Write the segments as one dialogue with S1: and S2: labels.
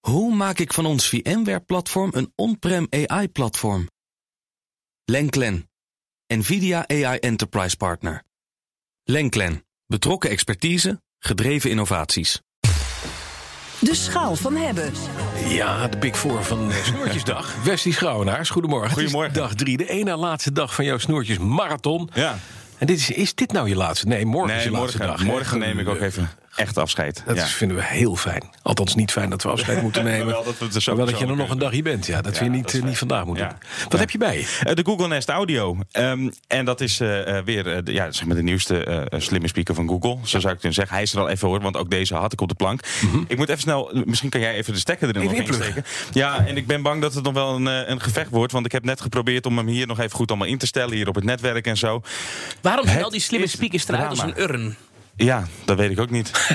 S1: Hoe maak ik van ons VMware-platform een on-prem AI-platform? Lenklen, NVIDIA AI Enterprise Partner. Lenklen, betrokken expertise, gedreven innovaties.
S2: De schaal van hebben.
S3: Ja, de Big Four van eh, Snoertjesdag. Westie Schouwenaars, goedemorgen. Het is
S4: Goedemorgen.
S3: dag drie, de ene laatste dag van jouw Snoertjes Marathon.
S4: Ja.
S3: En dit is, is dit nou je laatste? Nee, morgen is
S4: Nee,
S3: je laatste
S4: morgen,
S3: dag. hè?
S4: morgen neem ik ook even echt afscheid.
S3: Dat
S4: ja.
S3: is- vinden we heel fijn. Althans, niet fijn dat we afscheid moeten nemen.
S4: wel dat we het er zo
S3: maar wel dat je er
S4: persoonlijk
S3: nog een dag hier bent. Ja, dat we je niet,
S4: dat is
S3: eh, niet
S4: fijn.
S3: vandaag moeten
S4: Ja.
S3: doen. Wat heb je bij je?
S4: Eh, De Google Nest Audio. Ehm, en dat is eh, eh, weer eh, de, ja, zeg maar de nieuwste eh, eh, slimme speaker van Google. Zo zou ik het kunnen zeggen. Hij is er al even hoor, want ook deze had ik op de plank. Ik moet even snel, misschien kan jij even de stekker erin
S3: Mhm. Even
S4: nog
S3: inpluggen.
S4: insteken. Ja, en ik ben bang dat het nog wel een, eh, een gevecht wordt. Want ik heb net geprobeerd om hem hier nog even goed allemaal in te stellen. Hier op het netwerk en zo.
S5: Waarom zien
S4: Het
S5: al die slimme
S4: is
S5: speakers eruit als
S4: drama.
S5: een urn?
S4: Ja, dat weet ik ook niet.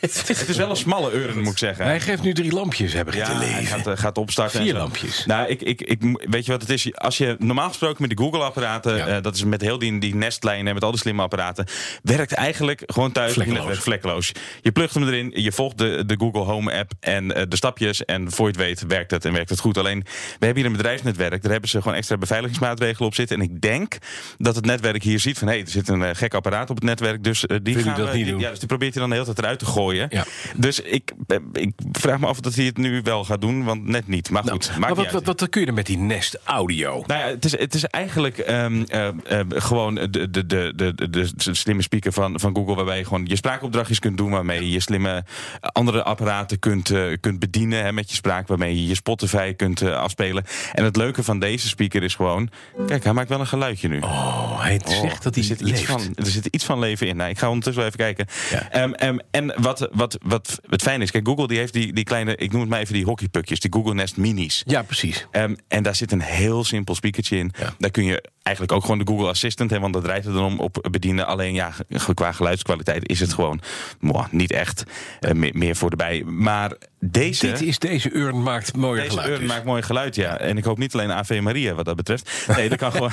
S4: het is wel een smalle urn, moet ik zeggen.
S3: Hij geeft nu drie lampjes, heb ik
S4: Ja,
S3: te
S4: hij
S3: leven.
S4: gaat, eh, gaat opstarten. en
S3: Vier
S4: zo.
S3: lampjes.
S4: Nou, ik, ik, ik, weet je wat het is? Als je normaal gesproken met die Google-apparaten,
S3: Ja.
S4: eh, dat is met heel die, die Nest-lijn en met al die slimme apparaten, werkt eigenlijk gewoon thuis op je
S3: Vlekkeloos.
S4: netwerk vlekkeloos. Je plugt hem erin, je volgt de, de Google Home-app en eh, de stapjes en voor je het weet werkt het en werkt het goed. Alleen, we hebben hier een bedrijfsnetwerk, daar hebben ze gewoon extra beveiligingsmaatregelen op zitten. En ik denk dat het netwerk hier ziet van, hé, er zit een eh, gek apparaat op het netwerk, dus eh, die
S3: Wil je
S4: gaan
S3: dat
S4: we-
S3: niet
S4: die-
S3: doen?
S4: Ja, dus die probeert hij dan de hele tijd eruit te gooien.
S3: Ja.
S4: Dus ik, eh, ik vraag me af of dat hij het nu wel gaat doen, want net niet. Maar goed, maakt
S3: Nou, maar
S4: niet
S3: wat, wat,
S4: uit.
S3: wat kun je er met die Nest Audio?
S4: Nou ja, het is, het is eigenlijk ehm, eh, eh, gewoon de, de, de, de, de, de slimme speaker van, van Google... waarbij je gewoon je spraakopdrachtjes kunt doen... waarmee je slimme andere apparaten kunt, eh, kunt bedienen hè, met je spraak... waarmee je je Spotify kunt eh, afspelen. En het leuke van deze speaker is gewoon... Kijk, hij maakt wel een geluidje nu.
S3: Oh, hij zegt dat
S4: er
S3: hij
S4: zit,
S3: leeft.
S4: iets van, er zit iets van leven in. Nou, ik ga ondertussen wel even kijken.
S3: Ja.
S4: Ehm, ehm, en wat, wat, wat het fijn is, kijk, Google die heeft die, die kleine, ik noem het maar even die hockeypukjes, die Google Nest Minis.
S3: Ja, precies.
S4: Ehm, en daar zit een heel simpel speakertje in.
S3: Ja.
S4: Daar kun je eigenlijk ook gewoon de Google Assistant, hè, want dat draait het dan om op bedienen. Alleen ja, ge- qua geluidskwaliteit is het gewoon mwah, niet echt eh, me- meer voor de bij. Maar deze.
S3: Dit is deze urn maakt mooie
S4: Deze
S3: geluid.
S4: urn
S3: dus.
S4: maakt mooi geluid, ja. En ik hoop niet alleen AV Maria wat dat betreft. Nee, er, kan gewoon,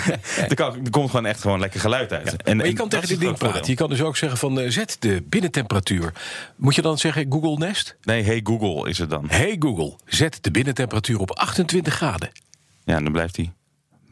S4: er, kan, er komt gewoon echt gewoon lekker geluid uit. En,
S3: Maar je
S4: en
S3: kan
S4: dat
S3: tegen dit
S4: is het
S3: ding
S4: grote voordeel.
S3: praten. Je kan dus ook zeggen van eh, zet de binnentemperatuur. Moet je dan zeggen Google Nest?
S4: Nee, hey Google is het dan.
S3: Hey Google, zet de binnentemperatuur op 28 graden.
S4: Ja, en dan blijft hij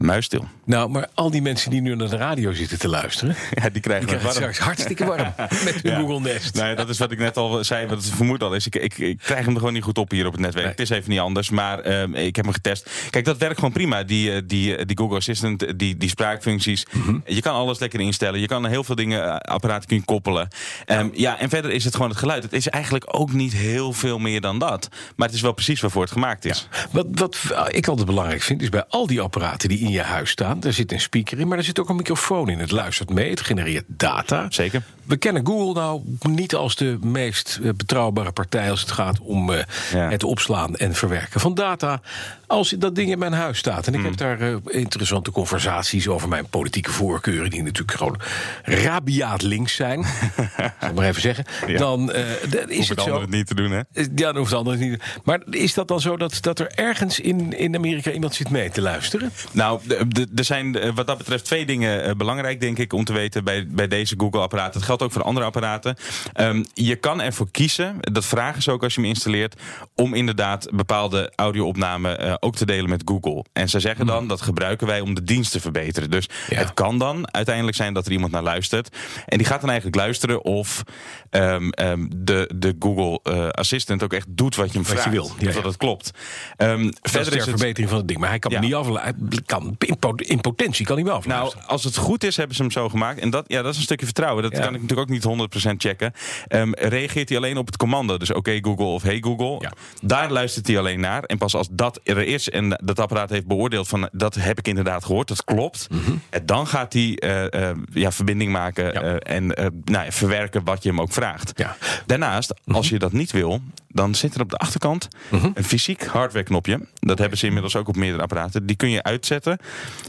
S4: muisstil.
S3: Nou, maar al die mensen die nu naar de radio zitten te luisteren...
S4: Ja, die
S3: die
S4: krijgen
S3: krijgen het straks hartstikke warm met hun
S4: Ja.
S3: Google Nest.
S4: Nee, dat is wat ik net al zei, wat het vermoed al is. Ik, ik, ik krijg hem er gewoon niet goed op hier op het netwerk.
S3: Nee.
S4: Het is even niet anders, maar ehm, ik heb hem getest. Kijk, dat werkt gewoon prima, die, eh, die, eh, die Google Assistant, eh, die, die spraakfuncties.
S3: Mhm.
S4: Je kan alles lekker instellen. Je kan heel veel dingen, eh, apparaten kun je koppelen. Ehm, ja, en verder is het gewoon het geluid. Het is eigenlijk ook niet heel veel meer dan dat. Maar het is wel precies waarvoor het gemaakt is.
S3: Wat, wat ik altijd belangrijk vind, is bij al die apparaten die in je huis staan... daar zit een speaker in, maar er zit ook een microfoon in. Het luistert mee, het genereert data.
S4: Zeker.
S3: We kennen Google nou niet als de meest eh, betrouwbare partij... als het gaat om eh,
S4: Ja.
S3: het opslaan en verwerken van data. Als dat ding in mijn huis staat... en ik
S4: Hmm.
S3: heb daar eh, interessante conversaties over mijn politieke voorkeuren... die natuurlijk gewoon rabiaat links zijn, zal ik maar even zeggen...
S4: Ja.
S3: dan eh, d- is het
S4: Hoef het
S3: zo...
S4: anderen het niet te doen, hè?
S3: Eh, Ja, dat hoeft anders niet. Maar is dat dan zo dat, dat er ergens in, in Amerika iemand zit mee te luisteren?
S4: Nou, de- de- er zijn eh, wat dat betreft twee dingen eh, belangrijk, denk ik, om te weten bij, bij deze Google-apparaten. Het geldt ook voor andere apparaten. Ehm, je kan ervoor kiezen, dat vragen ze ook als je hem installeert, om inderdaad bepaalde audio-opnamen eh, ook te delen met Google. En ze zeggen dan, dat gebruiken wij om de dienst te verbeteren. Dus
S3: Hmm. Ja.
S4: het kan dan uiteindelijk zijn dat er iemand naar luistert. En die gaat dan eigenlijk luisteren of ehm, ehm, de, de Google eh, Assistant ook echt doet wat je hem
S3: je
S4: vraagt.
S3: wil, ja,
S4: Dus
S3: ja.
S4: dat het klopt. Ehm,
S3: Dat is
S4: verder
S3: ter
S4: is het
S3: verbetering van het ding. Maar hij kan
S4: Ja.
S3: me niet afleiden. Kan, in, po- in potentie kan hij wel
S4: Nou,
S3: afluisteren.
S4: als het goed is, hebben ze hem zo gemaakt. En dat, ja, dat is een stukje vertrouwen. Dat
S3: Ja.
S4: kan ik natuurlijk ook niet 100% checken. Ehm, reageert hij alleen op het commando? Dus oké Google of hey Google.
S3: Ja.
S4: Daar luistert hij alleen naar. En pas als dat er is en dat apparaat heeft beoordeeld van dat heb ik inderdaad gehoord, dat klopt.
S3: Mhm.
S4: En dan gaat hij eh, eh, ja, verbinding maken eh, en eh, nou, ja, verwerken wat je hem ook vraagt.
S3: Ja. Mhm.
S4: Daarnaast, als je dat niet wil, dan zit er op de achterkant een fysiek hardware knopje. Dat hebben ze inmiddels ook op meerdere apparaten. Die kun je uitzetten.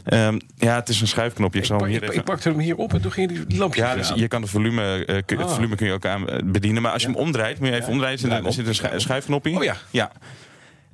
S4: Ehm, ja, het is een schuifknopje. Ik zal hem
S3: ik,
S4: hier
S3: ik,
S4: even-
S3: ik pakte hem hier op en toen ging die lampje.
S4: ja, dus je kan de volume, eh, kun- het
S3: Ah.
S4: volume kun je ook aan eh, bedienen. Maar als je hem omdraait, moet je even omdraaien. Zit er
S3: Daarom.
S4: zit een schu- schuifknopje. in.
S3: Oh ja.
S4: ja.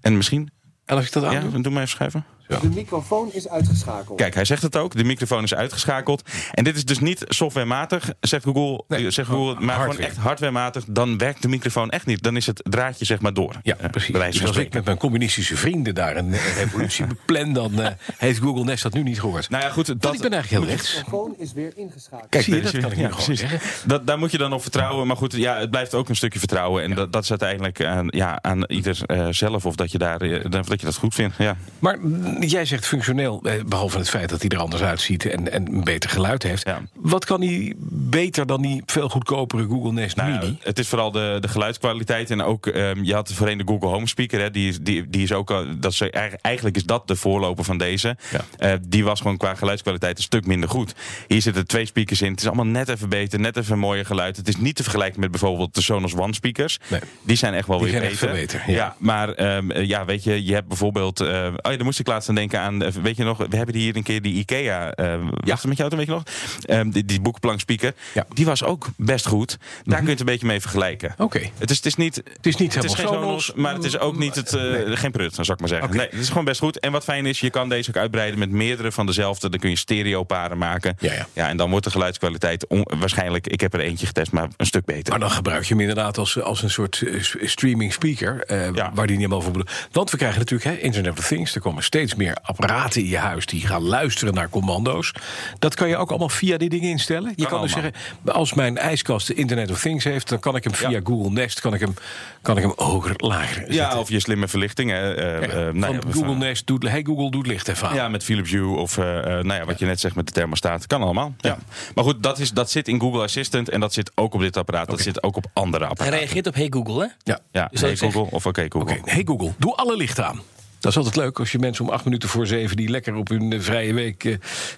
S4: En misschien...
S3: En als ik dat aan
S4: Ja,
S3: doe,
S4: doe maar even schuiven.
S3: zo
S5: De microfoon is uitgeschakeld.
S4: Kijk, hij zegt het ook. De microfoon is uitgeschakeld. En dit is dus niet softwarematig, zegt Google.
S3: Nee, Oh,
S4: eh, zegt Google maar
S3: hardware.
S4: gewoon echt hardwarematig. Dan werkt de microfoon echt niet. Dan is het draadje zeg maar door.
S3: Ja,
S4: Eh,
S3: precies.
S4: bij wijze
S3: Dus als
S4: van
S3: ik
S4: spreken.
S3: met mijn communistische vrienden daar een eh, revolutie plan, dan eh, heeft Google Nest dat nu niet gehoord.
S4: Nou ja, goed. Dat,
S3: Want ik ben eigenlijk heel rechts.
S5: De microfoon is weer ingeschakeld.
S3: Kijk,
S4: Zie je,
S3: dat
S4: dus-
S3: kan ik
S4: ja,
S3: nu gewoon
S4: precies.
S3: zeggen.
S4: Dat, daar moet je dan op vertrouwen. Maar goed, ja, het blijft ook een stukje vertrouwen. En dat, dat is uiteindelijk aan, ja, aan ieder eh, zelf. Of dat je, daar, eh, dat dat je dat goed vindt. Ja.
S3: Maar mm, jij zegt functioneel, eh, behalve het feit dat hij er anders uitziet en, en een beter geluid heeft.
S4: Ja.
S3: Wat kan hij beter dan die veel goedkopere Google Nest
S4: Nou ja,
S3: Mini?
S4: het is vooral de, de geluidskwaliteit. En ook, ehm, je had voorheen de Google Home Speaker. Hè, die, is- die, die is ook, al- dat is, eigenlijk- eigenlijk is dat de voorloper van deze.
S3: Ja.
S4: Eh, die was gewoon qua geluidskwaliteit een stuk minder goed. Hier zitten twee speakers in. Het is allemaal net even beter, net even mooier geluid. Het is niet te vergelijken met bijvoorbeeld de Sonos One speakers.
S3: Nee.
S4: Die zijn echt wel
S3: Die
S4: weer
S3: zijn echt
S4: beter.
S3: veel beter, ja.
S4: maar ehm, eh, ja, weet je, je hebt bijvoorbeeld... eh, oh ja, daar moest ik laatst aan denken aan... eh, Weet je nog, we hebben hier een keer die IKEA... eh Was het met jou toen, weet je nog? Ehm, die, die boekplank speaker.
S3: Ja. Mhm.
S4: Die was ook best goed. Daar kun je het een beetje mee vergelijken.
S3: Oké.
S4: Het is, het is niet, het
S3: is niet
S4: geen
S3: helemaal
S4: Sonos,
S3: Sonos,
S4: maar het is ook niet het, eh, geen prut, zou ik maar zeggen. Nee, het is gewoon best goed. En wat fijn is, je kan deze ook uitbreiden met meerdere van dezelfde. Dan kun je stereoparen maken.
S3: Ja, ja.
S4: en dan wordt de geluidskwaliteit on- waarschijnlijk, ik heb er eentje getest, maar een stuk beter.
S3: Maar dan gebruik je hem inderdaad als, als een soort eh, s- streaming speaker. eh,
S4: Ja.
S3: Waar die niet helemaal voor bedoeld. Want we krijgen natuurlijk hè, Internet of Things. Er komen steeds meer apparaten in je huis die gaan luisteren naar commando's. Dat kan je ook allemaal via die dingen instellen. Je kan,
S4: Kan
S3: dus
S4: allemaal.
S3: zeggen, als mijn ijskast de Internet of Things heeft... dan kan ik hem via
S4: Ja.
S3: Google Nest kan ik hem, kan ik hem hoger, lager zetten.
S4: ja, of je slimme verlichting. hè, eh, eh, nou
S3: Van
S4: ja, we-
S3: Google Nest, doet, hey Google, doet licht even aan.
S4: Ja, met Philips Hue of eh, eh, nou ja, wat je net zegt met de thermostaat. Kan allemaal. Ja. Maar goed, dat, is, dat zit in Google Assistant en dat zit ook op dit apparaat. Dat zit ook op andere
S6: Hij
S4: apparaten.
S6: reageert op Hey Google, hè?
S3: Ja.
S4: Ja,
S6: Dus
S4: hey
S6: dat is-
S4: Google of oké Google.
S3: Oké, hey Google, doe alle lichten aan. Dat is altijd leuk als je mensen om acht minuten voor zeven... die lekker op hun eh, vrije week eh,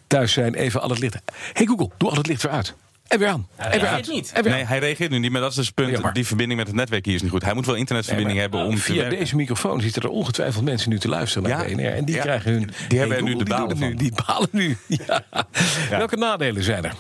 S3: thuis zijn, even al het licht... Hey Google, doe al het licht weer uit. En weer aan. En weer
S6: reageert
S3: uit.
S6: niet.
S3: En weer
S4: Nee,
S3: aan.
S4: hij reageert nu niet, maar dat is dus het punt.
S3: Jammer.
S4: Die verbinding met het netwerk hier is niet goed. Hij moet wel internetverbinding
S3: Nee,
S4: hebben om te
S3: Via
S4: werken.
S3: deze microfoon zitten er ongetwijfeld mensen nu te luisteren naar
S4: Ja.
S3: BNR. En die
S4: Ja.
S3: krijgen hun...
S4: Die hebben er nu de
S3: die doen
S4: balen
S3: het nu, Die balen nu. Ja. Welke nadelen zijn er?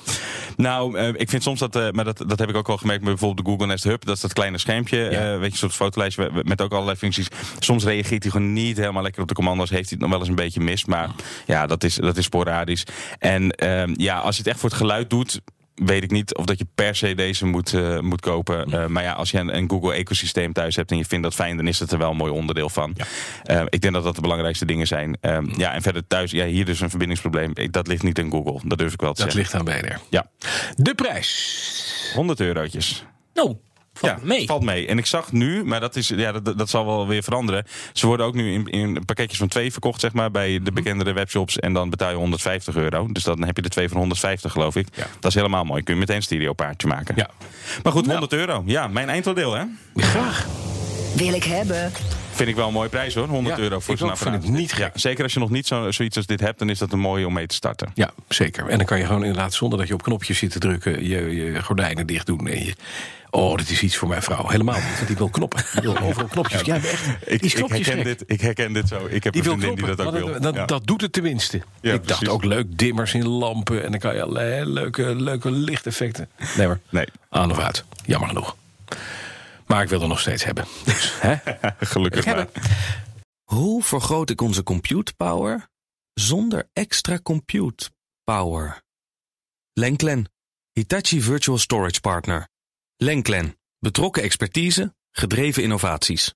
S4: Nou, eh, ik vind soms dat, eh, maar dat, dat heb ik ook al gemerkt met bijvoorbeeld de Google Nest Hub. Dat is dat kleine schermpje, eh, weet je, een soort fotolijstje met- met ook allerlei functies. Soms reageert hij gewoon niet helemaal lekker op de commando's. Heeft hij het nog wel eens een beetje mis, maar ja, dat is, dat is sporadisch. En ehm, ja, als je het echt voor het geluid doet... Weet ik niet of dat je per se deze moet, eh, moet kopen. Eh, maar ja, als je een, een Google-ecosysteem thuis hebt en je vindt dat fijn, dan is het er wel een mooi onderdeel van. Eh, ik denk dat dat de belangrijkste dingen zijn. Ehm, ja, en verder thuis, ja, hier dus een verbindingsprobleem. Ik- dat ligt niet in Google. Dat durf ik wel te
S3: Dat
S4: zeggen.
S3: ligt aan BNR.
S4: Ja.
S3: De prijs.
S4: 100 eurotjes.
S6: Nou, valt
S4: ja,
S6: mee.
S4: valt mee. En ik zag nu, maar dat, is, ja, dat, dat zal wel weer veranderen. Ze worden ook nu in, in pakketjes van twee verkocht, zeg maar, bij
S3: Mhm.
S4: de bekendere webshops. En dan betaal je 150 euro. Dus dan heb je de twee van 150, geloof ik.
S3: Ja.
S4: Dat is helemaal mooi. Kun je meteen een stereopaardje maken.
S3: Ja. Nou.
S4: Maar goed, 100 euro. Ja, mijn eindoordeel, hè?
S3: Graag.
S2: Wil ik hebben.
S4: Vind ik wel een mooie prijs, hoor. 100
S3: Ja,
S4: euro voor
S3: ik
S4: zo'n
S3: ook. Vind
S4: apparaat.
S3: ik niet gek.
S4: Ja, zeker als je nog niet zo, zoiets als dit hebt, dan is dat een mooie om mee te starten.
S3: Ja, zeker. En dan kan je gewoon inderdaad, zonder dat je op knopjes zit te drukken, je, je gordijnen dicht doen. En je, oh, dit is iets voor mijn vrouw. Helemaal niet, want die wil knoppen. Die wil overal knopjes. Ja, echt. Die
S4: Ik,
S3: is
S4: ik,
S3: knopjesgek.
S4: herken dit, ik herken dit zo. Ik heb
S3: Die
S4: een
S3: wil
S4: vriendin
S3: knoppen.
S4: die dat ook
S3: Want
S4: wil.
S3: Dat,
S4: Ja.
S3: dat doet het tenminste.
S4: Ja,
S3: ik dacht
S4: precies.
S3: ook leuk dimmers in lampen. En dan kan je allerlei leuke, leuke lichteffecten. Nee hoor.
S4: Nee.
S3: Aan of uit. Jammer genoeg. Maar ik wil er nog steeds hebben. Dus, hè?
S4: Gelukkig maar.
S1: Hoe vergroot ik onze compute power zonder extra compute power? Lenklen, Hitachi Virtual Storage Partner. Lenklen, betrokken expertise, gedreven innovaties.